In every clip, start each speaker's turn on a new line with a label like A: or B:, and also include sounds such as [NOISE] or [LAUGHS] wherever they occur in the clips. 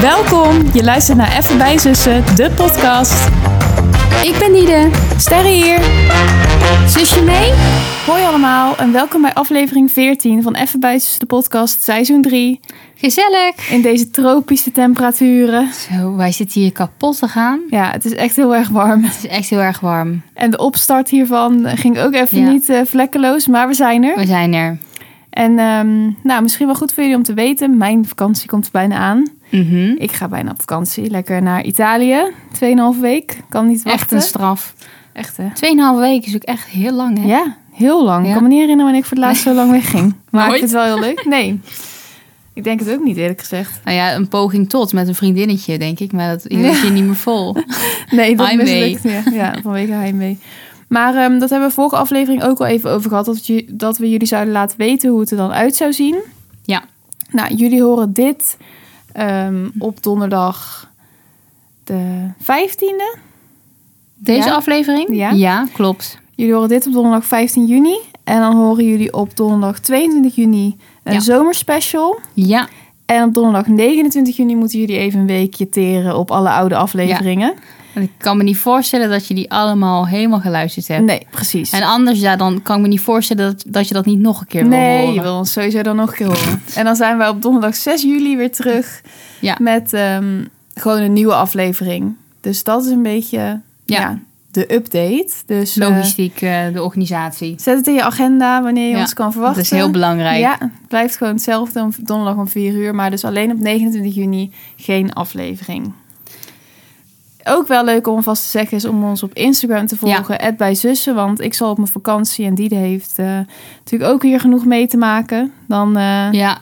A: Welkom, je luistert naar Even bij Zussen, de podcast.
B: Ik ben Nide.
A: Sterre hier.
B: Zusje mee?
A: Hoi allemaal en welkom bij aflevering 14 van Even bij Zussen, de podcast, seizoen 3.
B: Gezellig.
A: In deze tropische temperaturen.
B: Zo, wij zitten hier kapot te gaan.
A: Ja, het is echt heel erg warm.
B: Het is echt heel erg warm.
A: En de opstart hiervan ging ook even
B: Ja.
A: niet eh, vlekkeloos, maar we zijn er.
B: We zijn er.
A: En ehm, nou, misschien wel goed voor jullie om te weten, mijn vakantie komt bijna aan.
B: Mhm.
A: Ik ga bijna op vakantie, lekker naar Italië. Tweeënhalf week, kan niet wachten.
B: Echt een straf.
A: Echt hè?
B: Tweeënhalf weken is ook echt heel lang, hè?
A: Ja, heel lang. Ik
B: Ja.
A: kan me niet herinneren wanneer ik voor het laatst zo lang [LAUGHS] wegging. Maar ik
B: Nooit.
A: vind het wel heel leuk. Nee, ik denk het ook niet eerlijk gezegd.
B: Nou ja, een poging tot met een vriendinnetje, denk ik. Maar dat hield je niet meer vol.
A: Nee, dat
B: Heimwee.
A: mislukt. Ja, ja, vanwege heimwee. Maar ehm, dat hebben we vorige aflevering ook al even over gehad. Dat, je, dat we jullie zouden laten weten hoe het er dan uit zou zien.
B: Ja.
A: Nou, jullie horen dit ehm, op donderdag de 15e.
B: Deze
A: Ja.
B: aflevering?
A: Ja.
B: klopt.
A: Jullie horen dit op donderdag 15 juni. En dan horen jullie op donderdag 22 juni een
B: Ja.
A: zomerspecial.
B: Ja.
A: En op donderdag 29 juni moeten jullie even een weekje teren op alle oude afleveringen.
B: Want ik kan me niet voorstellen dat je die allemaal helemaal geluisterd hebt.
A: Nee, precies.
B: En anders, ja, dan kan ik me niet voorstellen dat, dat je dat niet nog een keer wil
A: nee,
B: horen.
A: je wil ons sowieso dan nog een keer horen.
B: [LAUGHS]
A: En dan zijn we op donderdag 6 juli weer terug
B: Ja.
A: met ehm, gewoon een nieuwe aflevering. Dus dat is een beetje ja.
B: Ja.
A: de update. Dus eh,
B: Logistiek, eh, de organisatie.
A: zet het in je agenda wanneer je
B: Ja,
A: ons kan
B: Dat
A: verwachten.
B: is heel belangrijk.
A: Ja, het blijft gewoon hetzelfde om donderdag om 4 uur. Maar dus alleen op 29 juni geen aflevering. Ook wel leuk om vast te zeggen is om ons op Instagram te volgen. @bijzussen, bij zussen. Want ik zal op mijn vakantie en die heeft eh, natuurlijk ook hier genoeg mee te maken. Dan eh,
B: ja.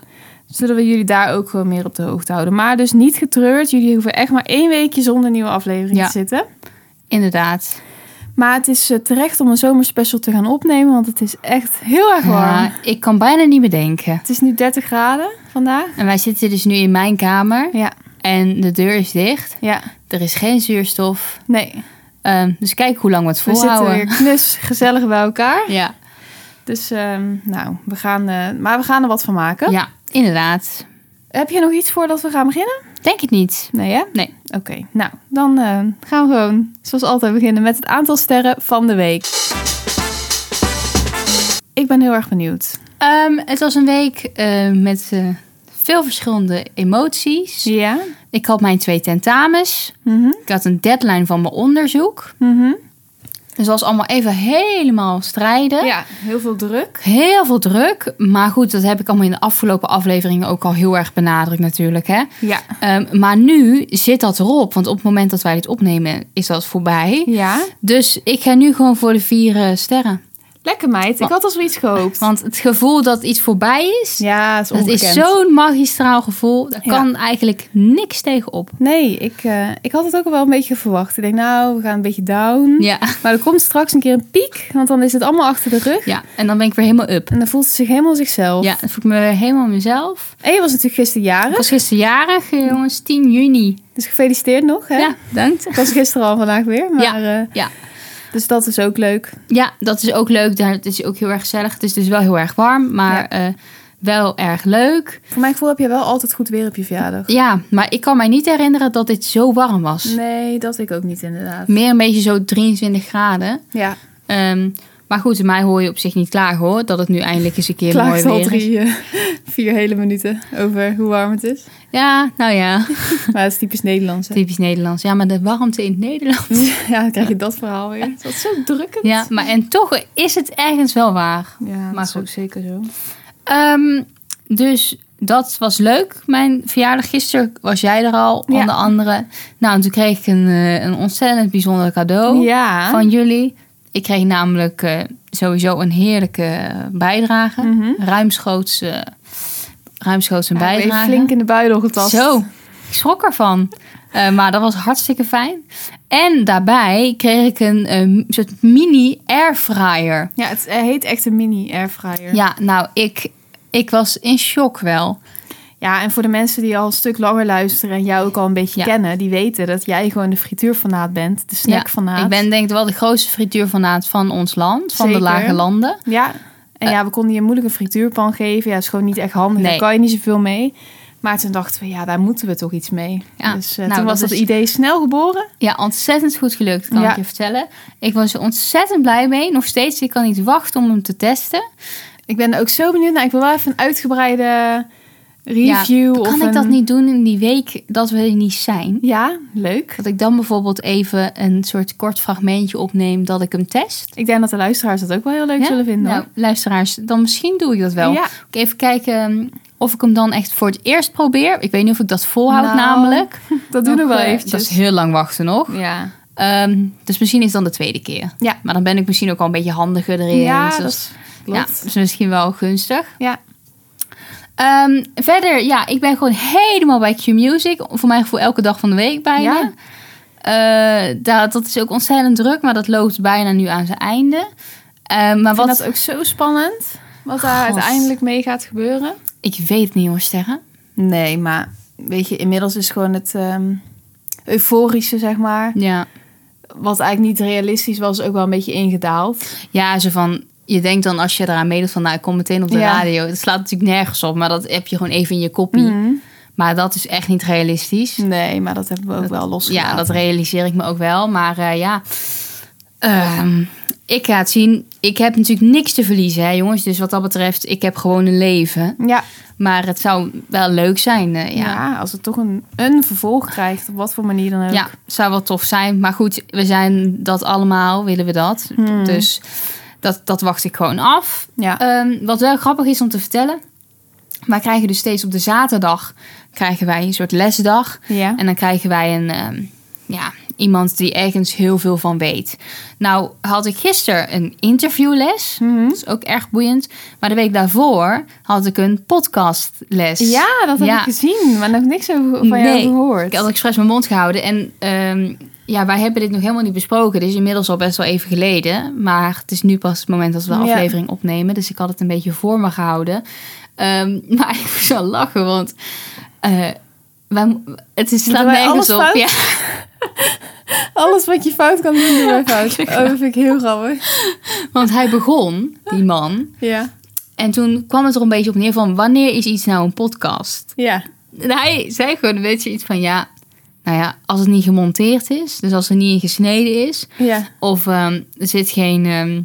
A: zullen we jullie daar ook gewoon meer op de hoogte houden. Maar dus niet getreurd. Jullie hoeven echt maar één weekje zonder nieuwe aflevering
B: Ja.
A: te zitten.
B: Inderdaad.
A: Maar het is eh, terecht om een zomerspecial te gaan opnemen. Want het is echt heel erg warm.
B: Ja, ik kan bijna niet bedenken.
A: Het is nu 30 graden vandaag.
B: En wij zitten dus nu in mijn kamer
A: Ja,
B: en de deur is dicht.
A: ja.
B: Er is geen zuurstof.
A: Nee,
B: Ehm, dus kijk hoe lang we het
A: we zitten
B: volhouden.
A: weer knus gezellig bij elkaar.
B: Ja,
A: Dus ehm, nou, we gaan, eh, maar we gaan er wat van maken.
B: ja, inderdaad.
A: Heb je nog iets voordat we gaan beginnen?
B: Denk het niet.
A: Nee, hè?
B: Nee.
A: Oké, nou, dan eh, gaan we gewoon, zoals altijd, beginnen met het aantal sterren van de week. Ik ben heel erg benieuwd.
B: Ehm, het was een week eh, met eh, veel verschillende emoties.
A: Ja?
B: Ik had mijn twee tentamens.
A: Mhm,
B: Ik had een deadline van mijn onderzoek.
A: mhm.
B: Dus dat was allemaal even helemaal strijden.
A: Ja, heel veel druk.
B: Heel veel druk. Maar goed, dat heb ik allemaal in de afgelopen afleveringen ook al heel erg benadrukt natuurlijk. Hè?
A: Ja.
B: Ehm, maar nu zit dat erop. Want op het moment dat wij dit opnemen, is dat voorbij.
A: Ja?
B: Dus ik ga nu gewoon voor de vier eh, sterren.
A: Lekker meid, ik had al zoiets gehoopt.
B: Want het gevoel dat iets voorbij is,
A: ja, het is
B: dat is
A: ongekend.
B: zo'n magistraal gevoel. Daar
A: Ja.
B: kan eigenlijk niks tegenop.
A: Nee, ik, eh, ik had het ook al wel een beetje verwacht. Ik denk, nou, we gaan een beetje down.
B: Ja.
A: Maar er komt straks een keer een piek, want dan is het allemaal achter de rug.
B: ja, en dan ben ik weer helemaal up.
A: En dan voelt ze zich helemaal zichzelf.
B: Ja, dan voel ik me weer helemaal mezelf.
A: En je was natuurlijk gisteren
B: Ik
A: jarig,
B: was gisteren jarig, eh, jongens, 10 juni.
A: dus gefeliciteerd nog. Hè?
B: Ja, bedankt.
A: Ik was gisteren al vandaag weer, maar, eh,
B: ja.
A: dus dat is ook leuk.
B: Ja, dat is ook leuk. Daar- Het is ook heel erg gezellig. Het is dus wel heel erg warm, maar eh, wel erg leuk.
A: Voor mijn gevoel heb je wel altijd goed weer op je verjaardag.
B: Ja, maar ik kan mij niet herinneren dat dit zo warm was.
A: Nee, dat ik ook niet inderdaad.
B: Meer een beetje zo 23 graden.
A: Ja,
B: Ehm, maar goed, mij hoor je op zich niet klaar hoor. Dat het nu eindelijk eens een keer mooi
A: klaagt
B: weer
A: al
B: is.
A: drie, eh, [LAUGHS] vier hele minuten over hoe warm het is.
B: Ja, nou ja.
A: Maar dat is typisch Nederlands. hè?
B: Typisch Nederlands. Ja, maar de warmte in Nederland.
A: [LAUGHS] Ja, dan krijg je dat verhaal weer. Dat is zo drukkend.
B: Ja, maar en toch is het ergens wel waar.
A: Ja, dat
B: Maar
A: is ook zeker zo.
B: Ehm, dus dat was leuk. Mijn verjaardag gisteren was jij er al,
A: Ja.
B: onder andere. Nou, en toen kreeg ik een, eh, een ontzettend bijzonder cadeau
A: ja.
B: Oh, van jullie. Ik kreeg namelijk eh, sowieso een heerlijke eh, bijdrage.
A: Mhm.
B: Ruimschoots, eh, ruimschoots een
A: Ja, ik ben
B: bijdrage.
A: flink in de buidel getast.
B: Zo, ik schrok ervan. Eh, maar dat was hartstikke fijn. En daarbij kreeg ik een eh, soort mini airfryer.
A: Ja, het eh, heet echt een mini airfryer.
B: Ja, nou, ik, ik was in shock wel.
A: Ja, en voor de mensen die al een stuk langer luisteren en jou ook al een beetje
B: Ja.
A: kennen, die weten dat jij gewoon de frituurfanaat bent, de
B: Ja,
A: snackfanaat.
B: Ik ben denk ik wel de grootste frituurfanaat van ons land, van
A: Zeker.
B: de lage landen.
A: Ja, en ja, we konden je moeilijk een frituurpan geven. Ja, is gewoon niet echt handig,
B: Eh. Nee.
A: daar kan je niet zoveel mee. Maar toen dachten we, ja, daar moeten we toch iets mee.
B: Ja,
A: Dus eh,
B: nou,
A: toen was
B: dat
A: dat
B: is-
A: idee snel geboren.
B: Ja, ontzettend goed gelukt, kan
A: Ja.
B: ik je vertellen. Ik was er ontzettend blij mee. Nog steeds, ik kan niet wachten om hem te testen.
A: Ik ben er ook zo benieuwd naar. Ik wil wel even een uitgebreide review.
B: Ja,
A: of
B: kan ik
A: een-
B: dat niet doen in die week dat we er niet zijn?
A: Ja, leuk.
B: Dat ik dan bijvoorbeeld even een soort kort fragmentje opneem dat ik hem test.
A: Ik denk dat de luisteraars dat ook wel heel leuk
B: Ja?
A: zullen vinden.
B: Nou,
A: hoor. luisteraars.
B: luisteraars, dan misschien doe ik dat wel.
A: Ja.
B: Ik Even kijken ehm, of ik hem dan echt voor het eerst probeer. Ik weet niet of ik dat volhoud
A: Nou,
B: namelijk.
A: Dat doen we
B: Nog,
A: wel
B: eh,
A: eventjes.
B: Dat is heel lang wachten nog.
A: Ja.
B: Ehm, dus misschien is het dan de tweede keer.
A: Ja.
B: Maar dan ben ik misschien ook al een beetje handiger erin.
A: Ja,
B: Dus
A: dat
B: dat-
A: is-
B: ja,
A: klopt.
B: dat is misschien wel gunstig.
A: Ja.
B: Ehm, verder, ja, ik ben gewoon helemaal bij Q-Music. Voor mijn gevoel elke dag van de week bijna.
A: Ja.
B: Eh, dat, dat is ook ontzettend druk, maar dat loopt bijna nu aan zijn einde. Ehm, maar
A: Ik
B: wat,
A: vind dat ook zo spannend. Wat daar
B: Gast.
A: uiteindelijk mee gaat gebeuren.
B: ik weet het niet hoor, Sterren.
A: Nee, maar weet je, inmiddels is gewoon het ehm, euforische, zeg maar.
B: Ja.
A: Wat eigenlijk niet realistisch was, ook wel een beetje ingedaald.
B: ja, zo van, je denkt dan als je eraan meedoet van, nou, ik kom meteen op de
A: Ja.
B: radio. Dat slaat natuurlijk nergens op, maar dat heb je gewoon even in je kopie.
A: Mhm.
B: Maar dat is echt niet realistisch.
A: Nee, maar dat hebben we ook wel losgelaten.
B: Ja, dat realiseer ik me ook wel. Maar eh, ja, Ehm, ik ga het zien. Ik heb natuurlijk niks te verliezen, hè, jongens. Dus wat dat betreft, ik heb gewoon een leven.
A: Ja,
B: Maar het zou wel leuk zijn. eh,
A: ja.
B: ja.
A: als het toch een, een vervolg krijgt, op wat voor manier dan ook.
B: Ja. zou wel tof zijn. Maar goed, we zijn dat allemaal, willen we dat.
A: Hmm.
B: Dus dat, dat wacht ik gewoon af.
A: Ja.
B: Ehm, wat wel grappig is om te vertellen. Wij krijgen dus steeds op de zaterdag krijgen wij een soort lesdag.
A: ja.
B: En dan krijgen wij een, ehm, ja, iemand die ergens heel veel van weet. Nou had ik gisteren een interviewles.
A: Mhm.
B: Dat is ook erg boeiend. Maar de week daarvoor had ik een podcastles.
A: dus- Ja, dat heb
B: Ja.
A: ik gezien, maar nog niks over, van jou
B: Nee.
A: gehoord.
B: Ik had expres mijn mond gehouden. En ehm, ja, wij hebben dit nog helemaal niet besproken. Dit is inmiddels al best wel even geleden. Maar het is nu pas het moment dat we de
A: Ja.
B: aflevering opnemen. Dus ik had het een beetje voor me gehouden. Ehm, [LAUGHS] maar ik moest wel lachen, want... eh, wij, mo- het is, slaat
A: wij alles
B: nergens op.
A: fout?
B: Ja.
A: Alles wat je fout kan doen, doen [LAUGHS] wij fout. Oh, dat vind ik heel grappig.
B: Want hij begon, die man.
A: Ja.
B: En toen kwam het er een beetje op neer van... wanneer is iets nou een podcast?
A: Ja.
B: En hij zei gewoon een beetje iets van... ja, nou ja, als het niet gemonteerd is... dus als er niet in gesneden is...
A: Ja.
B: of ehm, er, zit geen, ehm,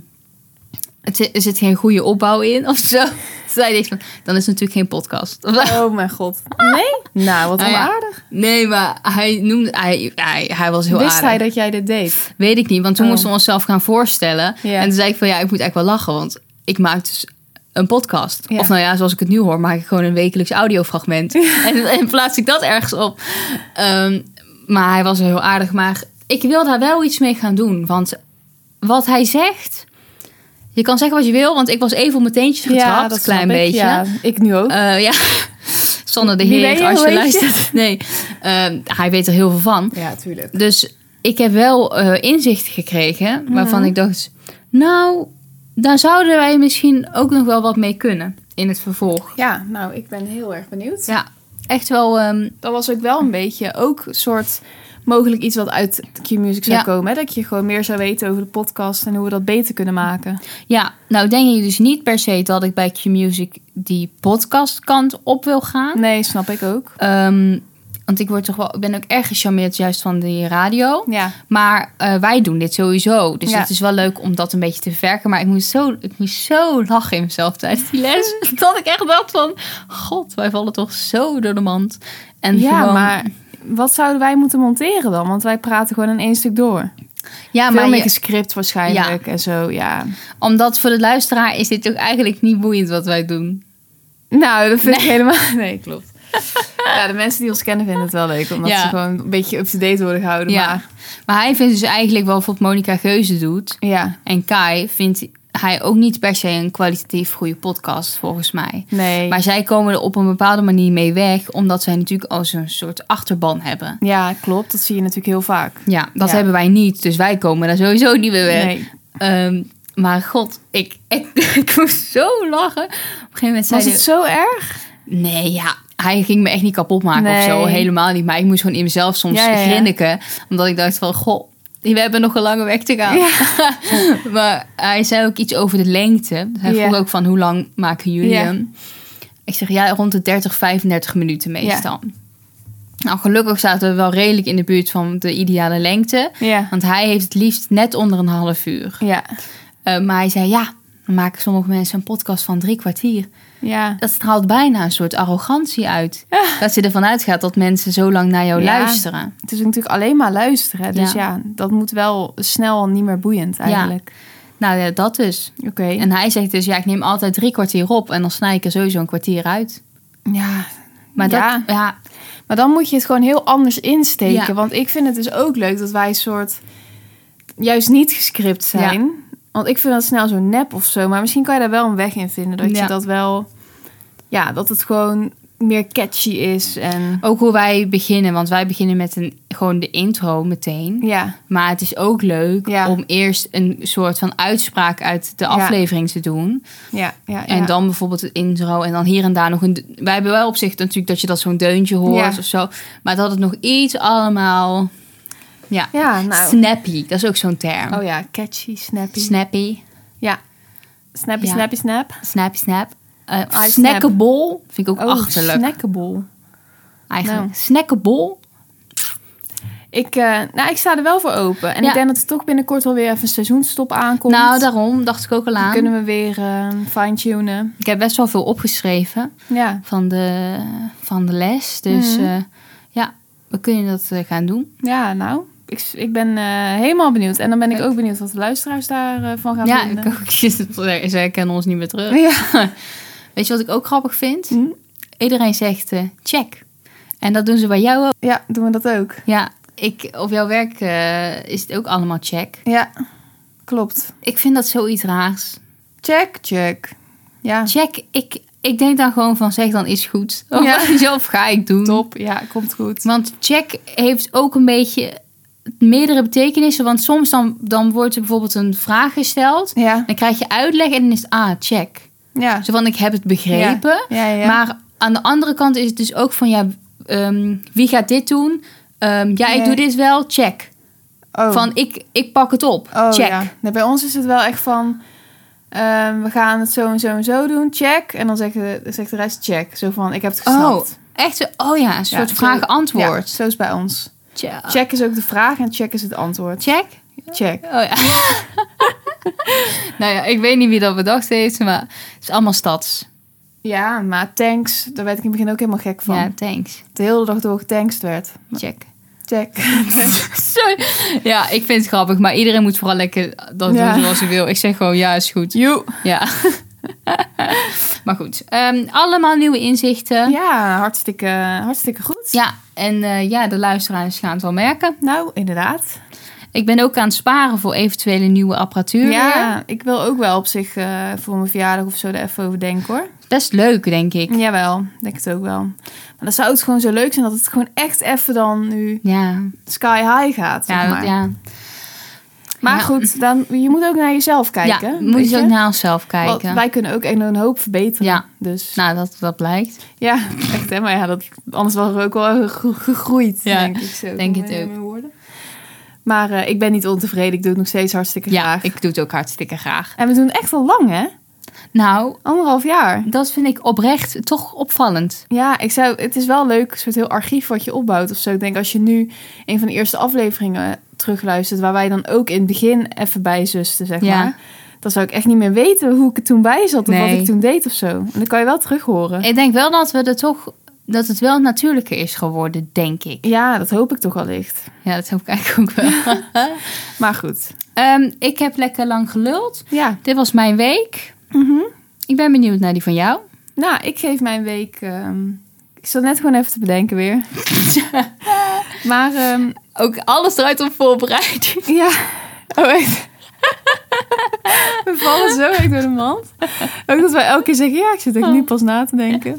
B: het zi- er zit geen goede opbouw in of zo... [LAUGHS] Toen zei hij echt van, dan is het natuurlijk geen podcast. [LAUGHS]
A: Oh mijn god. Nee? Nou, wat
B: Nou ja.
A: onaardig.
B: Nee, maar hij noemde... Hij, hij, hij was heel
A: Wist
B: aardig.
A: hij dat jij dit deed?
B: Weet ik niet, want toen
A: Oh.
B: moesten we onszelf gaan voorstellen.
A: Ja.
B: En toen zei ik van ja, ik moet eigenlijk wel lachen, want ik maak dus een podcast.
A: Ja.
B: Of nou ja, zoals ik het nu hoor, maak ik gewoon een wekelijks audiofragment. [LAUGHS] en, en plaats ik dat ergens op. Ehm, maar hij was wel heel aardig. Maar ik wil daar wel iets mee gaan doen. Want wat hij zegt, je kan zeggen wat je wil, want ik was even op mijn teentjes getrapt,
A: snap
B: een klein
A: ik.
B: beetje.
A: Ja, ik nu ook.
B: Eh, ja. [LAUGHS] Sander de
A: Wie ben
B: Heer,
A: je,
B: als
A: hoe
B: je
A: heet je?
B: luistert. Nee, Ehm, hij weet er heel veel van.
A: ja, tuurlijk.
B: Dus ik heb wel eh, inzichten gekregen waarvan ik dacht, nou, daar zouden wij misschien ook nog wel wat mee kunnen in het vervolg.
A: Ja, nou, ik ben heel erg benieuwd.
B: Ja, echt wel. ehm,
A: Dat was ook wel een beetje ook een soort mogelijk iets wat uit Q-Music zou
B: Ja.
A: komen. Hè? Dat je gewoon meer zou weten over de podcast en hoe we dat beter kunnen maken.
B: ja, nou denk je dus niet per se dat ik bij Q-Music die podcastkant op wil gaan.
A: Nee, snap ik ook.
B: Ehm, want ik word toch wel, ik ben ook erg gecharmeerd juist van die radio.
A: Ja.
B: Maar eh, wij doen dit sowieso. Dus
A: Ja.
B: het is wel leuk om dat een beetje te verwerken. Maar ik moest zo, ik moest zo lachen in mezelf tijdens
A: [LAUGHS]
B: die les. [LAUGHS] dat ik echt dacht van... God, wij vallen toch zo door de mand. En
A: ja,
B: gewoon-
A: maar wat zouden wij moeten monteren dan? Want wij praten gewoon in één stuk door.
B: Ja,
A: Veel
B: maar
A: meer
B: je-
A: gescript waarschijnlijk en zo, Ah, ja.
B: omdat voor de luisteraar is dit toch eigenlijk niet boeiend wat wij doen.
A: Nou, dat vind ik helemaal... [LAUGHS] Nee, klopt. ja, de mensen die ons kennen vinden het wel leuk. Omdat
B: Ja.
A: ze gewoon een beetje up-to-date worden gehouden.
B: Ja.
A: Maar,
B: Maar hij vindt dus eigenlijk wel wat Monica Geuze doet.
A: ja.
B: En Kai vindt hij ook niet per se een kwalitatief goede podcast, volgens mij.
A: Nee.
B: Maar zij komen er op een bepaalde manier mee weg. Omdat zij natuurlijk al zo'n soort achterban hebben.
A: Ja, klopt. Dat zie je natuurlijk heel vaak.
B: Ja, dat
A: Ja.
B: hebben wij niet. Dus wij komen daar sowieso niet meer weg.
A: Nee.
B: Ehm, maar god, ik, [LAUGHS] ik, ik moest zo lachen. Op een gegeven moment zei
A: Was
B: hij...
A: het zo erg?
B: Nee, ja, hij ging me echt niet kapot maken of
A: Nee.
B: zo. Helemaal niet. Maar ik moest gewoon in mezelf soms
A: Ja, ja, ja.
B: grinniken. Omdat ik dacht van, goh, we hebben nog een lange weg te gaan. [LAUGHS] maar hij zei ook iets over de lengte. Dus hij
A: Ja.
B: vroeg ook van, hoe lang maken jullie
A: Ja.
B: hem? Ik zeg ja, rond de 30, 35 minuten meestal. Nou, gelukkig zaten we wel redelijk in de buurt van de ideale lengte.
A: Ja.
B: Want hij heeft het liefst net onder een half uur.
A: Ja.
B: Eh, maar hij zei ja, dan maken sommige mensen een podcast van drie kwartier.
A: Ja.
B: Dat straalt bijna een soort arrogantie uit. Dat je ervan uitgaat dat mensen zo lang naar jou
A: Ah. Ja.
B: luisteren.
A: Het is natuurlijk alleen maar luisteren. Dus ja, dat moet wel snel niet meer boeiend eigenlijk.
B: Nou ja, dat dus.
A: Oké.
B: En hij zegt dus ja, ik neem altijd drie kwartier op en dan snij ik er sowieso een kwartier uit.
A: Ja.
B: Maar
A: Ja.
B: dat, ja,
A: Maar dan moet je het gewoon heel anders insteken.
B: Ja.
A: Want ik vind het dus ook leuk dat wij een soort juist niet gescript zijn. Want ik vind dat snel zo nep of zo. Maar misschien kan je daar wel een weg in vinden. Dat
B: Ja.
A: je dat wel. Ja, dat het gewoon meer catchy is. En
B: ook hoe wij beginnen. Want wij beginnen met een, gewoon de intro meteen.
A: ja,
B: Maar het is ook leuk
A: Ja.
B: om eerst een soort van uitspraak uit de aflevering te doen.
A: ja, ja.
B: En
A: ja.
B: dan bijvoorbeeld het intro. En dan hier en daar nog een. Wij hebben wel op zich natuurlijk dat je dat zo'n deuntje hoort
A: Ja.
B: of zo. Maar dat het nog iets allemaal. Ja.
A: Ja, nou.
B: Snappy, dat is ook zo'n term.
A: Oh ja, catchy, snappy.
B: Snappy.
A: ja. Snappy,
B: Ja.
A: snappy, snap.
B: Snap, snap. Eh,
A: Oh, snap.
B: snackable. Vind ik ook achterlijk.
A: snackable.
B: eigenlijk.
A: nou.
B: Snackable.
A: Ik, eh, nou, ik sta er wel voor open. En
B: Ja.
A: ik denk dat er toch binnenkort wel weer even een seizoenstop aankomt.
B: Nou, daarom dacht ik ook al
A: Dan
B: aan.
A: kunnen we weer eh, fine-tunen.
B: Ik heb best wel veel opgeschreven.
A: Ja.
B: van de, van de les. Dus
A: Mhm.
B: eh, ja, we kunnen dat eh, gaan doen.
A: ja, nou, ik, ik ben eh, helemaal benieuwd. En dan ben ik
B: Leuk.
A: ook benieuwd wat de luisteraars daarvan van gaan
B: ja,
A: vinden.
B: ik ook. [LAUGHS] Ze ze herkennen ons niet meer terug.
A: Ja.
B: [LAUGHS] Weet je wat ik ook grappig vind?
A: Hm?
B: Iedereen zegt eh, check. En dat doen ze bij jou ook.
A: ja, doen we dat ook.
B: Ja, ik, op jouw werk eh, is het ook allemaal check.
A: Ja, klopt.
B: Ik vind dat zoiets raars.
A: Check, check. Ja,
B: Check, ik, ik denk dan gewoon van zeg dan is goed. [LAUGHS] Of,
A: Ja.
B: weet je, of ga ik doen.
A: top. Ja, komt goed.
B: Want check heeft ook een beetje meerdere betekenissen. Want soms dan, dan wordt er bijvoorbeeld een vraag gesteld.
A: Ja,
B: Dan krijg je uitleg en dan is het, ah, check.
A: ja.
B: Zo van, ik heb het begrepen.
A: Ja, ja, ja.
B: Maar aan de andere kant is het dus ook van, ja, ehm, wie gaat dit doen? Ehm, ja, ik
A: Nee.
B: doe dit wel, check.
A: Oh.
B: Van, ik, ik pak het op,
A: Oh,
B: check.
A: ja. Nee, bij ons is het wel echt van... ehm, we gaan het zo en zo en zo doen, check. En dan zegt de, zegt de rest check. Zo van, ik heb het
B: Oh,
A: gesnapt.
B: echt, zo- oh ja, een soort
A: zo- Ja,
B: vraag-antwoord.
A: zo is het bij ons.
B: Check.
A: Check is ook de vraag en check is het antwoord.
B: Check?
A: Check.
B: Oh ja. [LAUGHS] nou ja, ik weet niet wie dat bedacht heeft, maar het is allemaal stads.
A: Ja, maar tanks, daar werd ik in het begin ook helemaal gek van.
B: Ja, thanks.
A: De hele dag door getankt werd. [LAUGHS]
B: Check.
A: Check.
B: [LAUGHS] Sorry. Ja, ik vind het grappig, maar iedereen moet vooral lekker dat
A: Ja.
B: doen zoals hij wil. Ik zeg gewoon, ja, is goed.
A: You.
B: Ja. [LAUGHS] maar goed, ehm, allemaal nieuwe inzichten. Ja,
A: Ja, hartstikke, hartstikke goed.
B: en eh, ja, de luisteraars gaan het wel merken.
A: Nou, inderdaad.
B: Ik ben ook aan het sparen voor eventuele nieuwe apparatuur. weer.
A: Ja, ik wil ook wel op zich eh, voor mijn verjaardag of zo er even over denken hoor.
B: Best leuk, denk ik.
A: Jawel, denk het ook wel. Maar dan zou het gewoon zo leuk zijn dat het gewoon echt even dan nu
B: Ja,
A: sky high gaat. zeg
B: ja,
A: maar
B: ja.
A: maar
B: Ja.
A: goed, dan, je moet ook naar jezelf kijken.
B: ja moet
A: weet
B: je ook
A: je?
B: naar onszelf
A: Want
B: kijken.
A: wij kunnen ook echt nog een hoop verbeteren.
B: Ja.
A: Dus
B: Nou, dat, dat blijkt.
A: ja, echt hè. Maar ja, dat, anders was er ook wel ge- gegroeid,
B: Ja,
A: denk ik zo.
B: denk
A: Kom
B: het
A: maar in
B: ook.
A: mijn woorden. Maar eh, ik ben niet ontevreden. Ik doe het nog steeds hartstikke
B: Ja,
A: graag.
B: ik doe het ook hartstikke graag.
A: En we doen het echt al lang, hè?
B: Nou,
A: Anderhalf jaar.
B: dat vind ik oprecht toch opvallend.
A: Ja, ik zou, het is wel leuk, een soort heel archief wat je opbouwt of zo. Ik denk als je nu een van de eerste afleveringen terugluistert, waar wij dan ook in het begin even bij zusten, zeg
B: Ja.
A: maar. Dan zou ik echt niet meer weten hoe ik er toen bij zat of
B: Nee.
A: wat ik toen deed of zo. En dan kan je wel terug horen.
B: Ik denk wel dat we er toch dat het wel natuurlijker is geworden, denk ik.
A: Ja, dat hoop ik toch allicht.
B: Ja, dat hoop ik eigenlijk ook wel.
A: Maar goed,
B: Ehm, ik heb lekker lang geluld.
A: ja.
B: Dit was mijn week. Ik ben benieuwd naar die van jou.
A: Nou, ik geef mijn week... ehm, ik zat net gewoon even te bedenken weer. [LAUGHS] maar ehm,
B: Ook alles eruit op voorbereiding.
A: Ja. Oh, echt. [LAUGHS] We vallen zo echt door de mand. Ook dat wij elke keer zeggen, ja, ik zit ook nu pas na te denken.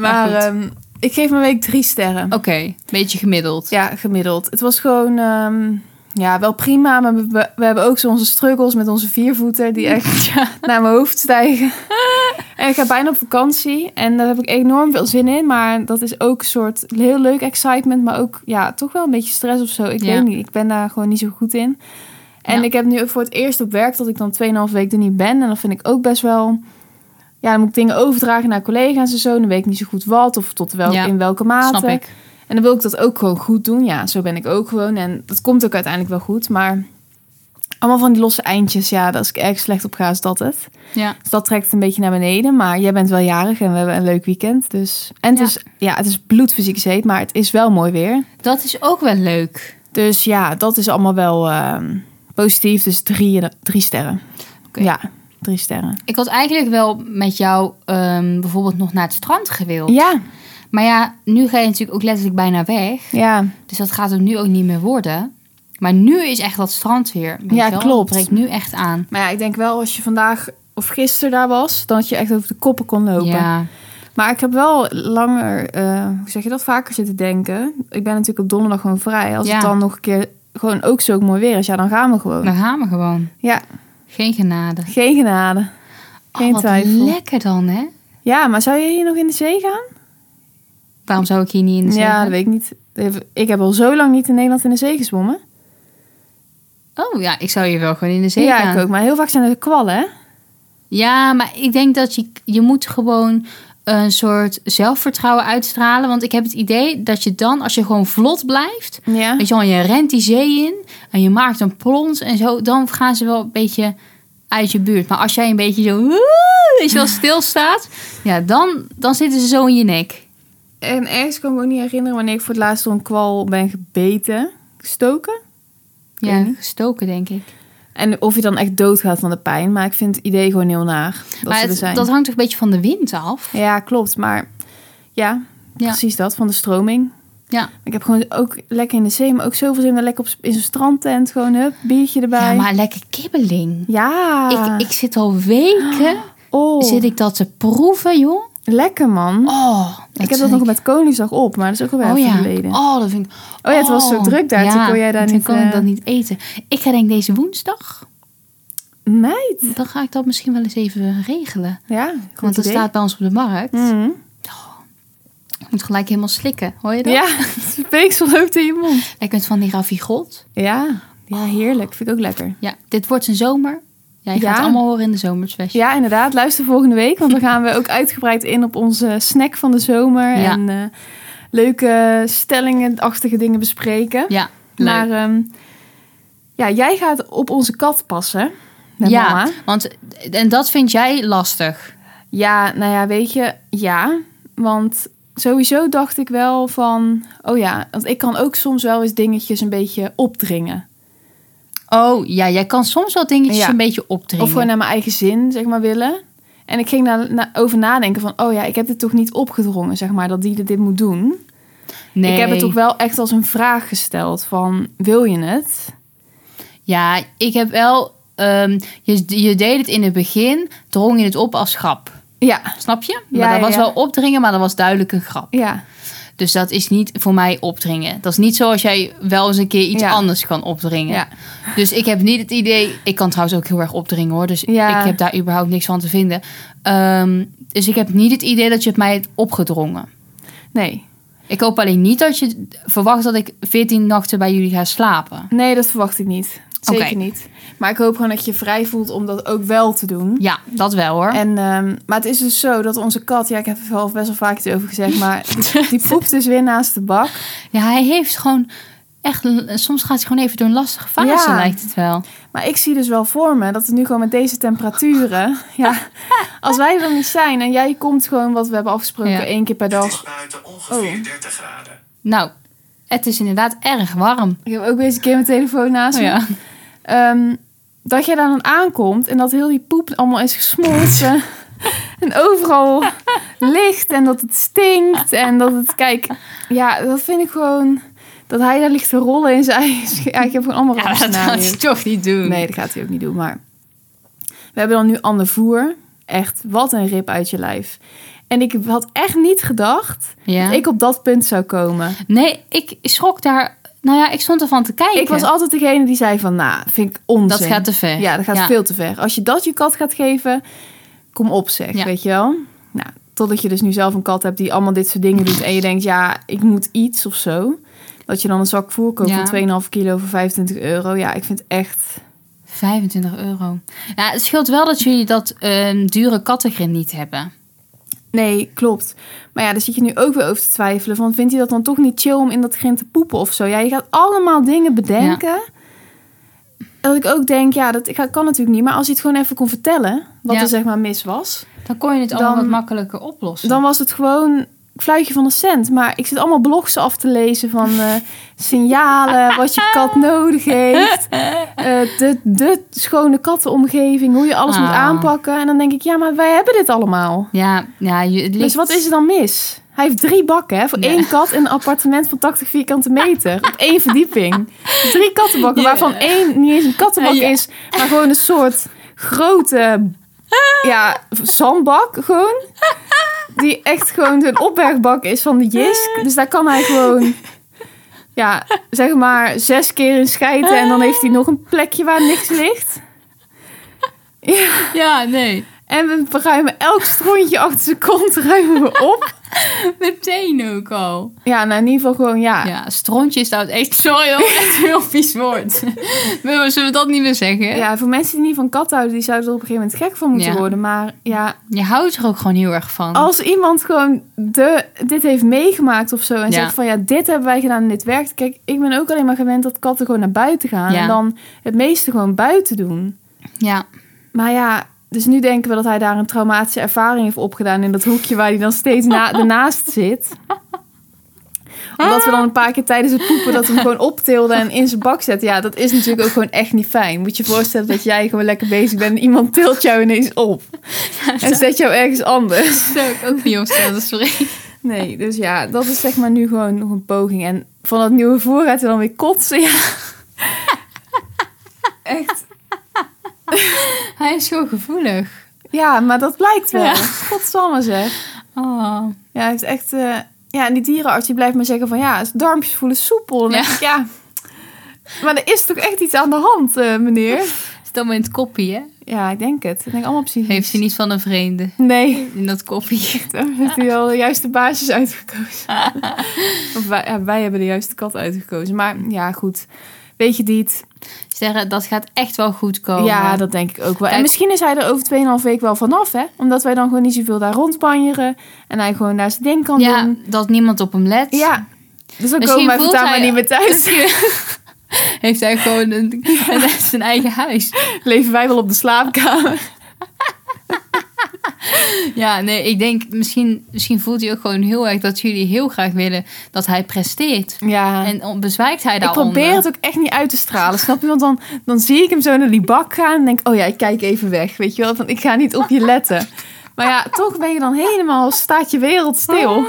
A: Maar
B: goed.
A: ehm, ik geef mijn week drie sterren.
B: [LAUGHS] Oké, beetje gemiddeld.
A: Ja, gemiddeld. Het was gewoon ehm, ja, wel prima. Maar we, we- we hebben ook zo onze struggles met onze viervoeten die
B: [LAUGHS]
A: echt naar mijn hoofd stijgen. en ik ga bijna op vakantie en daar heb ik enorm veel zin in. Maar dat is ook een soort heel leuk excitement, maar ook ja, toch wel een beetje stress of zo. Ik
B: Ja.
A: weet niet, ik ben daar gewoon niet zo goed in. En
B: Ja.
A: ik heb nu ook voor het eerst op werk dat ik dan 2,5 weken er niet ben. En dat vind ik ook best wel ja, dan moet ik dingen overdragen naar collega's en zo. Dan weet ik niet zo goed wat of tot wel,
B: Ja,
A: in welke mate.
B: Snap ik.
A: En dan wil ik dat ook gewoon goed doen. Ja, zo ben ik ook gewoon. En dat komt ook uiteindelijk wel goed. Maar allemaal van die losse eindjes. Ja, als ik erg slecht op ga, is dat het.
B: Ja.
A: Dus dat trekt het een beetje naar beneden. Maar jij bent wel jarig en we hebben een leuk weekend. Dus... En het,
B: Ja.
A: Is, ja, het is bloedfysiek zeet, maar het is wel mooi weer.
B: Dat is ook wel leuk.
A: Dus ja, dat is allemaal wel ehm, positief. Dus drie, drie sterren.
B: Oké.
A: Ja, drie sterren.
B: Ik had eigenlijk wel met jou ehm, bijvoorbeeld nog naar het strand gewild.
A: Ja,
B: Maar ja, nu ga je natuurlijk ook letterlijk bijna weg.
A: ja.
B: Dus dat gaat hem nu ook niet meer worden. Maar nu is echt dat strand weer. weet
A: Ja,
B: je wel?
A: klopt.
B: Dat breekt nu echt aan.
A: Maar ja, ik denk wel als je vandaag of gisteren daar was, dan dat je echt over de koppen kon lopen.
B: Ja.
A: Maar ik heb wel langer, eh, hoe zeg je dat, vaker zitten denken. Ik ben natuurlijk op donderdag gewoon vrij. Als
B: Ja.
A: het dan nog een keer gewoon ook zo mooi weer is, ja, dan gaan we gewoon.
B: Dan gaan we gewoon.
A: Ja,
B: Geen genade.
A: geen genade. Geen
B: Oh, wat
A: twijfel.
B: lekker dan, hè?
A: Ja, maar zou je hier nog in de zee gaan?
B: Waarom zou ik hier niet in de zee
A: ja,
B: gaan?
A: dat weet ik niet. Eh, Ik heb al zo lang niet in Nederland in de zee gezwommen.
B: Oh ja, ik zou hier wel gewoon in de zee
A: ja,
B: gaan.
A: ik ook. Maar heel vaak zijn er kwallen, hè?
B: Ja, maar ik denk dat je, je moet gewoon een soort zelfvertrouwen uitstralen. Want ik heb het idee dat je dan, als je gewoon vlot blijft...
A: Ja.
B: Weet je wel, je rent die zee in en je maakt een plons en zo... dan gaan ze wel een beetje uit je buurt. Maar als jij een beetje zo... "Woe", Weet je
A: [LAUGHS]
B: wel, stilstaat... ja, dan, dan zitten ze zo in je nek.
A: En ergens kan ik me ook niet herinneren wanneer ik voor het laatst door een kwal ben gebeten. Gestoken? weet
B: Ja,
A: niet.
B: gestoken, denk ik.
A: En of je dan echt doodgaat van de pijn. Maar ik vind het idee gewoon heel naar. Dat
B: maar
A: ze
B: het-
A: er zijn.
B: dat hangt toch een beetje van de wind af?
A: Ja, klopt. Maar ja,
B: Ja.
A: precies dat. Van de stroming.
B: Ja.
A: Ik heb gewoon ook lekker in de zee. Maar ook zoveel zin om lekker op, in zo'n strandtent. Gewoon hup, biertje erbij.
B: Ja, maar lekker kibbeling.
A: Ja.
B: Ik, ik zit al
A: [GASPS]
B: weken...
A: oh,
B: Zit ik dat te proeven, joh?
A: lekker man.
B: Oh,
A: ik heb dat nog met Koningsdag op. Maar dat is ook alweer
B: oh,
A: even
B: ja.
A: geleden.
B: Oh, dat vind ik.
A: Oh ja, het was zo druk daar, toen kon jij daar
B: toen
A: niet,
B: kon
A: eh,
B: ik dat niet eten. Ik ga denk deze woensdag.
A: Meid.
B: Dan ga ik dat misschien wel eens even regelen.
A: Ja, goed
B: Want dat
A: idee.
B: staat bij ons op de markt.
A: Mhm.
B: Ik moet gelijk helemaal slikken. Hoor je dat?
A: Ja, [LAUGHS] het speeksel loopt in je mond.
B: Lekker met van die ravigot.
A: Ja, ja heerlijk. Vind ik ook lekker.
B: Ja, dit wordt een zomer. Ja, je gaat
A: Ja.
B: het allemaal horen in de zomersfestje.
A: Ja, inderdaad. Luister volgende week, want dan gaan we ook uitgebreid in op onze snack van de zomer.
B: Ja.
A: En eh, leuke stellingen-achtige dingen bespreken.
B: Ja, leuk.
A: maar ehm, ja, jij gaat op onze kat passen met
B: ja,
A: mama.
B: want en dat vind jij lastig.
A: Ja, nou ja, weet je, ja. Want sowieso dacht ik wel van, oh ja, want ik kan ook soms wel eens dingetjes een beetje opdringen.
B: Oh ja, jij kan soms wel dingetjes
A: Ja.
B: een beetje opdringen.
A: Of gewoon naar mijn eigen zin, zeg maar, willen. En ik ging daarover over nadenken van, oh ja, ik heb dit toch niet opgedrongen, zeg maar, dat die dit moet doen.
B: nee.
A: Ik heb het toch wel echt als een vraag gesteld van, wil je het?
B: Ja, ik heb wel. ehm, je, je deed het in het begin, drong je het op als grap.
A: Ja,
B: Snap je?
A: Ja,
B: maar dat
A: ja,
B: was
A: ja.
B: wel opdringen, maar dat was duidelijk een grap.
A: ja,
B: Dus dat is niet voor mij opdringen. Dat is niet zoals jij wel eens een keer iets
A: Ja.
B: anders kan opdringen.
A: ja.
B: Dus ik heb niet het idee. Ik kan trouwens ook heel erg opdringen hoor. Dus
A: Ja.
B: ik heb daar überhaupt niks van te vinden. Ehm, dus ik heb niet het idee dat je het mij hebt opgedrongen.
A: Nee,
B: Ik hoop alleen niet dat je verwacht dat ik 14 nachten bij jullie ga slapen.
A: nee, dat verwacht ik niet. Zeker
B: Oké.
A: niet. Maar ik hoop gewoon dat je vrij voelt om dat ook wel te doen.
B: Ja, dat wel hoor.
A: En, ehm, maar het is dus zo dat onze kat, ja, ik heb er wel best wel vaak iets over gezegd, [LAUGHS] maar die, die poept dus weer naast de bak.
B: Ja, hij heeft gewoon echt. Soms gaat hij gewoon even door een lastige fase,
A: Ja.
B: lijkt het wel.
A: Maar ik zie dus wel voor me dat het nu gewoon met deze temperaturen. ja, [LAUGHS] als wij er niet zijn en jij komt gewoon wat we hebben afgesproken
B: Ja.
A: één keer per
C: Het is
A: dag.
C: buiten ongeveer
A: Oh.
C: 30 graden.
B: Nou, het is inderdaad erg warm.
A: Ik heb ook weer eens een keer mijn telefoon naast me.
B: [LAUGHS] ja.
A: Ehm, dat jij daar dan aankomt en dat heel die poep allemaal is
B: [LAUGHS]
A: gesmolten. en overal ligt en dat het stinkt. En dat het, kijk, ja, dat vind ik gewoon. Dat hij daar ligt te rollen in zijn eigen. Ja, ik heb gewoon allemaal
B: ja, dat
A: rampscenario's.
B: gaat hij toch niet doen.
A: Nee, dat gaat hij ook niet doen. Maar we hebben dan nu ander voer. Echt, wat een rip uit je lijf. En ik had echt niet gedacht
B: Ja.
A: dat ik op dat punt zou komen.
B: nee, ik schrok daar. Nou ja, ik stond ervan te kijken.
A: Ik was altijd degene die zei van, nou, vind ik onzin.
B: Dat gaat te ver.
A: Ja, dat gaat
B: Ja.
A: veel te ver. Als je dat je kat gaat geven, kom op zeg,
B: Ja.
A: weet je wel. Nou, totdat je dus nu zelf een kat hebt die allemaal dit soort dingen doet... en je denkt, ja, ik moet iets of zo. Dat je dan een zak voer koopt
B: Ja.
A: van 2,5 kilo voor 25 euro. Ja, ik vind echt...
B: 25 euro. Ja, het scheelt wel dat jullie dat ehm, dure kattengrin niet hebben.
A: Nee, klopt. Maar ja, daar zit je nu ook weer over te twijfelen. Van, vindt hij dat dan toch niet chill om in dat grind te poepen of zo? Ja, je gaat allemaal dingen bedenken. Dat ik ook denk, ja, dat ga- kan natuurlijk niet. Maar als hij het gewoon even kon vertellen, wat
B: Ja.
A: er zeg maar mis was.
B: Dan kon je het allemaal
A: Dan-
B: wat makkelijker oplossen.
A: Dan was het gewoon fluitje van een cent. Maar ik zit allemaal blogs af te lezen van
B: [LAUGHS]
A: eh, signalen, wat je kat nodig
B: [LAUGHS]
A: heeft. eh, de, de schone kattenomgeving, hoe je alles moet
B: Ah.
A: aanpakken. En dan denk ik, ja, maar wij hebben dit allemaal.
B: Ja, ja je, het
A: Dus
B: ligt-
A: wat is er dan mis? Hij heeft drie bakken hè, voor
B: Ja.
A: één kat in een appartement van 80 vierkante meter. op één verdieping. Drie kattenbakken,
B: Ja.
A: waarvan één niet eens een kattenbak
B: Ja.
A: is, maar gewoon een soort grote ja, zandbak gewoon. Die echt gewoon een opbergbak is van de Jisk. Dus daar kan hij gewoon, ja, zeg maar zes keer in schijten. En dan heeft hij nog een plekje waar niks ligt. Ja.
B: Ja, nee.
A: En we ruimen elk strontje achter zijn kont ruimen we op.
B: [LAUGHS] Meteen ook al.
A: Ja, nou in ieder geval gewoon ja. Ja,
B: Ja, strontje is nou echt... [LAUGHS] Sorry, hoor, echt een heel vies
A: [LAUGHS]
B: woord. Maar Zullen we dat niet meer zeggen?
A: voor mensen die niet van kat houden, die zouden er op een gegeven moment gek van moeten
B: Ja.
A: worden. Maar ja,
B: Je houdt er ook gewoon heel erg van.
A: als iemand gewoon de, dit heeft meegemaakt of zo en
B: Ja.
A: zegt van ja, dit hebben wij gedaan en dit werkt. Kijk, ik ben ook alleen maar gewend dat katten gewoon naar buiten gaan
B: Ja.
A: en dan het meeste gewoon buiten doen.
B: Ja.
A: Maar ja, dus nu denken we dat hij daar een traumatische ervaring heeft opgedaan in dat hoekje waar hij dan steeds na, ernaast zit. Omdat we dan een paar keer tijdens het poepen dat we hem gewoon optilden en in zijn bak zetten. Ja, dat is natuurlijk ook gewoon echt niet fijn. Moet je je voorstellen dat jij gewoon lekker bezig bent en iemand tilt jou ineens op. En zet jou ergens anders.
B: Dat zou ik [LAUGHS] ook niet opstellen, sorry.
A: Nee, dus ja, dat is zeg maar nu gewoon nog een poging. En van dat nieuwe voorraad dan weer kotsen, ja. Echt.
B: Hij is zo gevoelig.
A: Ja, maar dat blijkt wel.
B: Ja.
A: Godsamme zeg.
B: Oh.
A: Ja, hij heeft echt... eh, ja, en die dierenarts die blijft maar zeggen van... Ja, zijn darmpjes voelen soepel. En
B: Ja.
A: ja. ik, ja... Maar er is toch echt iets aan de hand, eh, meneer?
B: Zit allemaal in het koppie, hè?
A: Ja, ik denk het. Ik denk allemaal psychisch.
B: Heeft hij niet van een vreemde
A: Nee,
B: in dat [LAUGHS] koppie?
A: dan heeft hij al de juiste baasjes
B: [LAUGHS]
A: uitgekozen. of wij, ja, wij hebben de juiste kat uitgekozen. Maar ja, goed. Weet je niet?
B: Sterren, dat gaat echt wel goed komen.
A: ja, dat denk ik ook wel. En
B: Oh, Kijk-
A: misschien is hij er over 2,5 week wel vanaf, hè? Omdat wij dan gewoon niet zoveel daar rondbanjeren. En hij gewoon daar zijn ding kan
B: Ja,
A: doen.
B: dat niemand op hem let. [LAUGHS]
A: Ja. Dus dan
B: Misschien
A: komen wij
B: voelt
A: voortaan
B: hij-
A: maar niet meer thuis.
B: [LAUGHS] Heeft hij gewoon een, zijn eigen huis.
A: Leven wij wel op de slaapkamer?
B: Ja, nee, ik denk misschien, misschien voelt hij ook gewoon heel erg dat jullie heel graag willen dat hij presteert.
A: Ja.
B: En on- bezwijkt hij
A: ik
B: daaronder.
A: probeer het ook echt niet uit te stralen, snap je? Want dan, dan zie ik hem zo naar die bak gaan en denk... oh ja, ik kijk even weg, weet je wel? Want ik ga niet op je letten. Maar ja, toch ben je dan helemaal... staat je wereld stil.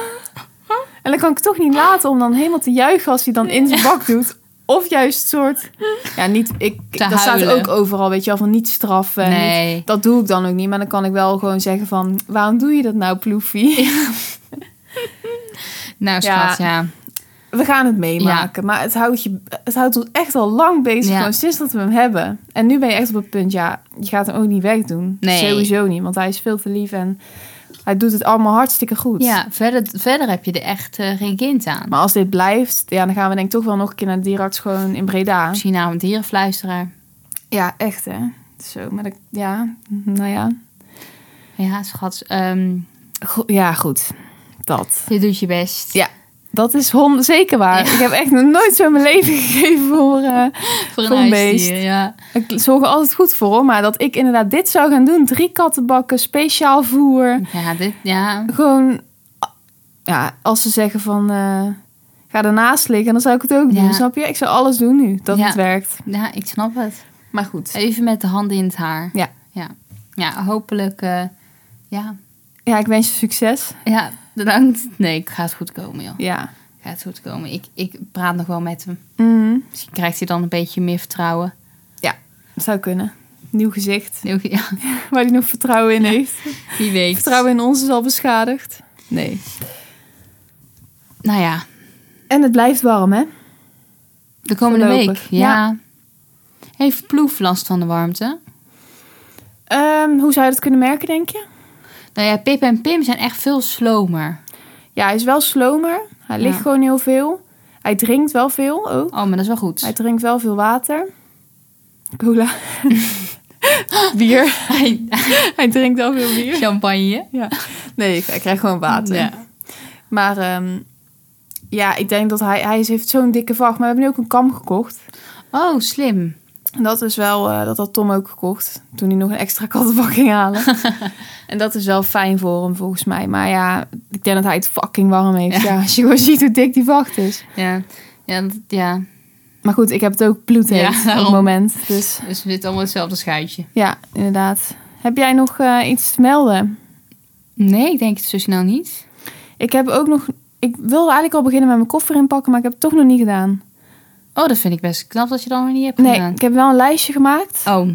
A: En dan kan ik het toch niet laten om dan helemaal te juichen... als hij dan in zijn bak doet. Of juist soort... Ja, niet... Ik, dat staat
B: huilen.
A: ook overal, weet je wel? Van niet straffen. niet-
B: Nee.
A: dat doe ik dan ook niet. Maar dan kan ik wel gewoon zeggen van... waarom doe je dat nou, ploefie? Ja.
B: Nou, schat, ja.
A: We gaan het meemaken. Maar het houdt, je, het houdt ons echt al lang bezig.
B: Ja.
A: Gewoon sinds dat we hem hebben. En nu ben je echt op het punt. Ja, je gaat hem ook niet wegdoen.
B: Nee.
A: Sowieso niet. Want hij is veel te lief. En hij doet het allemaal hartstikke goed.
B: Ja, verder, verder heb je er echt eh, geen kind aan.
A: Maar als dit blijft. Ja, dan gaan we denk ik toch wel nog een keer naar de dierarts. Gewoon in Breda.
B: Misschien naar een dierenfluisteraar.
A: Ja, echt hè. Zo, maar dat, ja. Nou ja.
B: Ja, schat, ehm,
A: Go- ja, goed. Dat.
B: je doet je best.
A: Ja. Dat is hond, zeker waar. Ik heb echt nog nooit zo mijn leven [LAUGHS] gegeven voor... eh,
B: Voor een
A: Voor een
B: huisdier, ja.
A: Ik zorg er altijd goed voor, hoor. maar dat ik inderdaad dit zou gaan doen. Drie kattenbakken, speciaal voer.
B: Ja, dit, ja.
A: Gewoon, ja, als ze zeggen van, eh, ga ernaast liggen, dan zou ik het ook doen.
B: Ja.
A: Snap je? Ik zou alles doen nu, dat
B: Ja.
A: het werkt.
B: ja, ik snap het.
A: Maar goed.
B: Even met de handen in het haar.
A: Ja.
B: Ja, ja hopelijk. eh, ja.
A: Ja, ik wens je succes.
B: ja, bedankt. Nee, ik ga het goed komen, joh.
A: Ja.
B: Gaat het goed komen. Ik, ik praat nog wel met hem.
A: Mhm.
B: Misschien krijgt hij dan een beetje meer vertrouwen. [LAUGHS]
A: Ja, zou kunnen. Nieuw gezicht, [LAUGHS]
B: Heel- Ja,
A: waar hij nog vertrouwen in heeft.
B: wie weet.
A: Vertrouwen in ons is al beschadigd. Nee.
B: Nou ja,
A: En het blijft warm, hè?
B: de komende
A: Voorlopig,
B: week. Ja. Heeft Ploef last van de warmte?
A: Ehm, hoe zou je dat kunnen merken, denk je?
B: Nou ja, Pip en Pim zijn echt veel slomer.
A: Ja, hij is wel slomer. Hij ligt
B: Ja.
A: gewoon heel veel. Hij drinkt wel veel ook.
B: Oh, maar dat is wel goed.
A: Hij drinkt wel veel water. Cola. bier.
B: [LAUGHS] Hij-
A: [LAUGHS] Hij drinkt al veel bier.
B: Champagne.
A: Ja. Nee, ik, ik krijg gewoon water.
B: Ja.
A: Maar ehm, ja, ik denk dat hij... Hij heeft zo'n dikke vacht. Maar we hebben nu ook een kam gekocht.
B: Oh, slim.
A: En dat is wel... eh, dat had Tom ook gekocht. Toen hij nog een extra [LAUGHS] kattenbak ging halen. en dat is wel fijn voor hem volgens mij. Maar ja, ik denk dat hij het fucking warm heeft. Ja, als je gewoon [LAUGHS] ziet hoe dik die vacht is.
B: Ja. Ja, dat- ja.
A: Maar goed, ik heb het ook bloedheet
B: Ja,
A: op het
B: daarom.
A: moment. Dus
B: Dus we zitten allemaal hetzelfde schuitje.
A: ja, inderdaad. Heb jij nog eh, iets te melden?
B: Nee, ik denk het zo snel niet.
A: Ik heb ook nog... Ik wilde eigenlijk al beginnen met mijn koffer inpakken, maar ik heb het toch nog niet gedaan.
B: Oh, dat vind ik best knap dat je dat nog niet hebt
A: Nee,
B: gedaan.
A: ik heb wel een lijstje gemaakt.
B: Oh, maar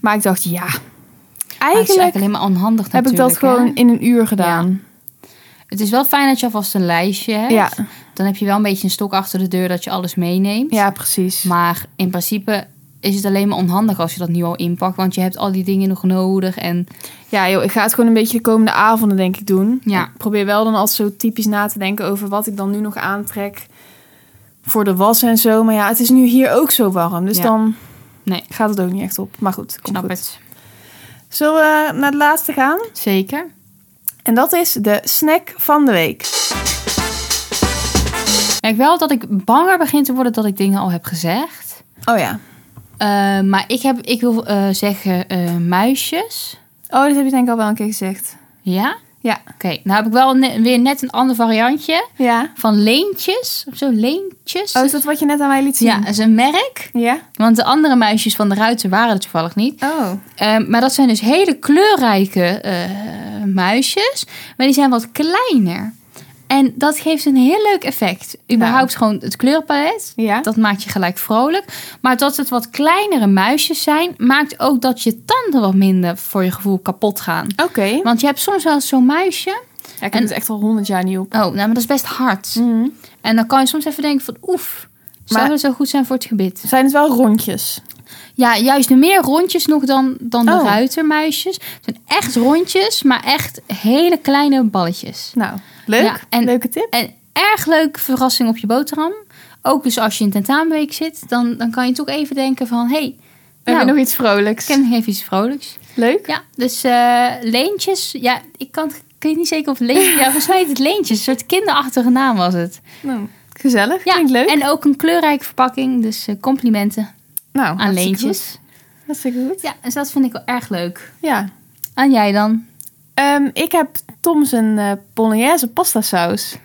A: Maar ik dacht, ja,
B: het is
A: eigenlijk
B: eigenlijk alleen maar onhandig
A: heb ik dat
B: natuurlijk, hè?
A: gewoon in een uur gedaan.
B: Het is wel fijn dat je alvast een lijstje hebt.
A: Ja,
B: Dan heb je wel een beetje een stok achter de deur dat je alles meeneemt.
A: ja precies.
B: Maar in principe is het alleen maar onhandig als je dat nu al inpakt. Want je hebt al die dingen nog nodig. En
A: Ja, joh, ik ga het gewoon een beetje de komende avonden, denk ik, doen.
B: Ja.
A: Ik probeer wel dan altijd zo typisch na te denken over wat ik dan nu nog aantrek voor de was en zo. Maar ja, het is nu hier ook zo warm, dus
B: Ja.
A: dan
B: Nee.
A: gaat het ook niet echt op. Maar goed,
B: ik
A: komt
B: snap
A: goed.
B: het.
A: Zullen we naar het laatste gaan?
B: Zeker.
A: En dat is de snack van de week.
B: Ik merk wel dat ik banger begin te worden dat ik dingen al heb gezegd.
A: Oh ja.
B: Eh, maar ik, heb, ik wil eh, zeggen eh, muisjes.
A: Oh, dat heb je denk ik al wel een keer gezegd.
B: Ja?
A: Ja.
B: Oké, nou heb ik wel ne- weer net een ander variantje.
A: Ja.
B: Van leentjes. Of zo, leentjes.
A: Oh, is dat wat je net aan mij liet zien?
B: ja, dat is een merk.
A: Ja?
B: Want de andere muisjes van de ruiten waren er toevallig niet.
A: Oh.
B: Ehm, maar dat zijn dus hele kleurrijke eh, muisjes. Maar die zijn wat kleiner. En dat geeft een heel leuk effect. Überhaupt gewoon het kleurpalet.
A: Ja.
B: Dat maakt je gelijk vrolijk. Maar dat het wat kleinere muisjes zijn, maakt ook dat je tanden wat minder voor je gevoel kapot gaan.
A: Oké.
B: Want je hebt soms wel eens zo'n muisje.
A: Ja, ik heb
B: En- Mhm.
A: het echt al honderd jaar niet op.
B: Oh, nou, maar dat is best hard. En dan kan je soms even denken van oef, zou
A: Maar-
B: dat zo goed zijn voor het gebit?
A: Zijn het wel rondjes?
B: Ja, juist de meer rondjes nog dan, dan de
A: Oh.
B: ruitermuisjes. Het zijn echt rondjes, maar echt hele kleine balletjes.
A: Nou, leuk.
B: Ja, en-
A: Leuke tip.
B: En erg leuk verrassing op je boterham. Ook dus als je in tentamenweek zit, dan, dan kan je toch even denken van... hé, hey,
A: We
B: nou,
A: hebben nog iets vrolijks.
B: ik heb nog even iets vrolijks.
A: Leuk.
B: Ja, dus eh, leentjes. Ja, ik kan... het- Ik weet niet zeker of
A: [LAUGHS]
B: leentjes... ja, volgens mij heet het leentjes. Een soort kinderachtige naam was het.
A: Nou, gezellig.
B: Ja,
A: Klinkt leuk.
B: en ook een kleurrijke verpakking. Dus eh, complimenten
A: nou,
B: aan
A: hartstikke
B: leentjes.
A: goed. Hartstikke goed.
B: Ja, dus dat vind ik wel erg leuk.
A: Ja.
B: En jij dan?
A: Ehm, ik heb Tom zijn eh bolognese pasta saus.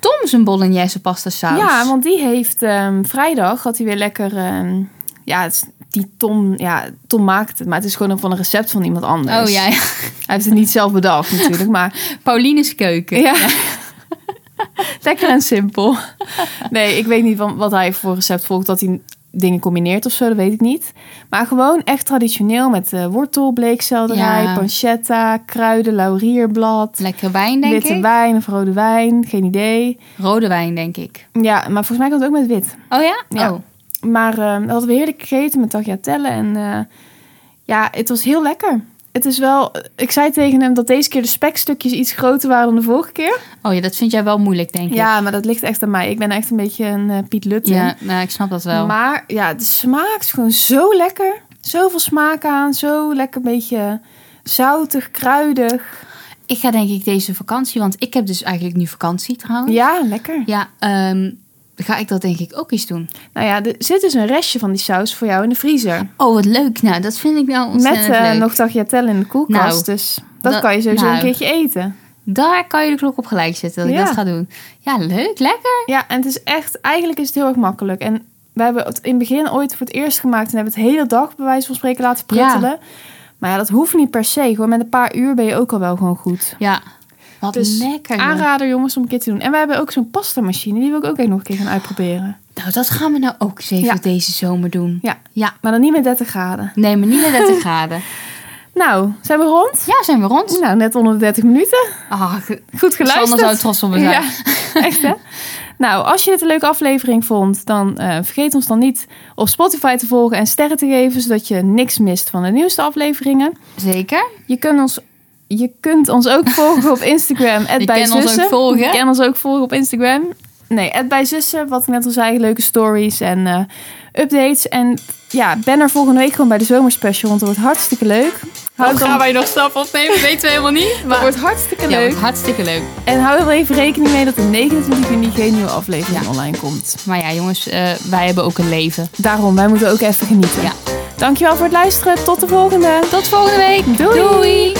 B: Tom zijn bolognese pasta saus.
A: Ja, want die heeft ehm, vrijdag had hij weer lekker. ehm, ja, het is- die Tom, ja, Tom maakt het, maar het is gewoon van een recept van iemand anders.
B: Oh ja, ja.
A: Hij heeft het niet zelf bedacht natuurlijk, maar
B: Pauline's keuken.
A: ja. lekker en simpel. Nee, ik weet niet van wat hij voor recept volgt, dat hij dingen combineert of zo, dat weet ik niet. Maar gewoon echt traditioneel met eh, wortel, bleekselderij,
B: Ja.
A: pancetta, kruiden, laurierblad,
B: Lekker wijn, denk
A: witte
B: ik.
A: wijn of rode wijn, geen idee.
B: Rode wijn, denk ik.
A: Ja, maar volgens mij kan het ook met wit.
B: Oh ja?
A: Ja.
B: Oh.
A: Maar eh, dat hadden we heerlijk gegeten met tagliatelle. En eh, ja, het was heel lekker. Het is wel... Ik zei tegen hem dat deze keer de spekstukjes iets groter waren dan de vorige keer.
B: oh ja, dat vind jij wel moeilijk, denk ik.
A: Ja, maar dat ligt echt aan mij. Ik ben echt een beetje een eh, Piet Lut in.
B: Ja, nou, ik snap dat wel.
A: Maar ja, de smaak is gewoon zo lekker. Zoveel smaak aan. Zo lekker een beetje zoutig, kruidig.
B: Ik ga denk ik deze vakantie, want ik heb dus eigenlijk nu vakantie trouwens.
A: Ja, lekker.
B: Ja, ehm, ga ik dat denk ik ook eens doen.
A: Nou ja, er zit dus een restje van die saus voor jou in de vriezer.
B: Oh, wat leuk. Nou, dat vind ik nou
A: Met
B: ontzettend
A: eh,
B: leuk.
A: nog tagliatelle in de koelkast.
B: Nou,
A: dus dat,
B: dat-
A: kan je sowieso
B: nou.
A: een keertje eten.
B: Daar kan je de klok op gelijk zetten dat
A: Ja.
B: ik dat ga doen. Ja, leuk. Lekker.
A: Ja, en het is echt, eigenlijk is het heel erg makkelijk. En we hebben het in het begin ooit voor het eerst gemaakt en hebben het hele dag, bij wijze van spreken, laten pruttelen. Maar ja, dat hoeft niet per se. Gewoon met een paar uur ben je ook al wel gewoon goed.
B: Ja. Wat
A: Dus
B: lekker. joh.
A: Aanrader jongens om een keer te doen. En we hebben ook zo'n pastamachine, die wil ik ook nog een keer gaan uitproberen.
B: Nou, dat gaan we nou ook eens even
A: Ja.
B: deze zomer doen.
A: Ja.
B: Ja.
A: Maar dan niet met 30 graden.
B: Nee, maar niet naar 30 graden.
A: Nou, zijn we rond?
B: [LAUGHS] Ja, zijn we rond.
A: Nou, net onder de 30 minuten.
B: Ah,
A: Goed geluisterd.
B: Sander zou trots op me zijn.
A: Ja, [LAUGHS] echt hè? Nou, als je dit een leuke aflevering vond, dan eh, vergeet ons dan niet op Spotify te volgen en sterren te geven, zodat je niks mist van de nieuwste afleveringen.
B: Zeker.
A: Je kunt ons, je kunt ons ook volgen op Instagram,
B: [LAUGHS] Je
A: bij
B: kan ons ook volgen.
A: Je kan ons ook volgen op Instagram. nee, add bij zussen, wat ik net al zei, leuke stories en eh, updates. En ja, ben er volgende week gewoon bij de zomerspecial, want het wordt hartstikke leuk. Hou
B: Hoe
A: dan,
B: Oh, gaan wij nog stappen opnemen? Weten we helemaal niet.
A: het
B: Maar
A: wordt hartstikke
B: ja,
A: leuk.
B: wordt hartstikke leuk.
A: En hou er even rekening mee dat er 29 juni geen nieuwe aflevering online komt.
B: Maar ja, jongens, eh, wij hebben ook een leven.
A: Daarom, wij moeten ook even genieten.
B: Ja.
A: Dankjewel voor het luisteren. Tot de volgende.
B: Tot volgende week.
A: Doei.
B: Doei.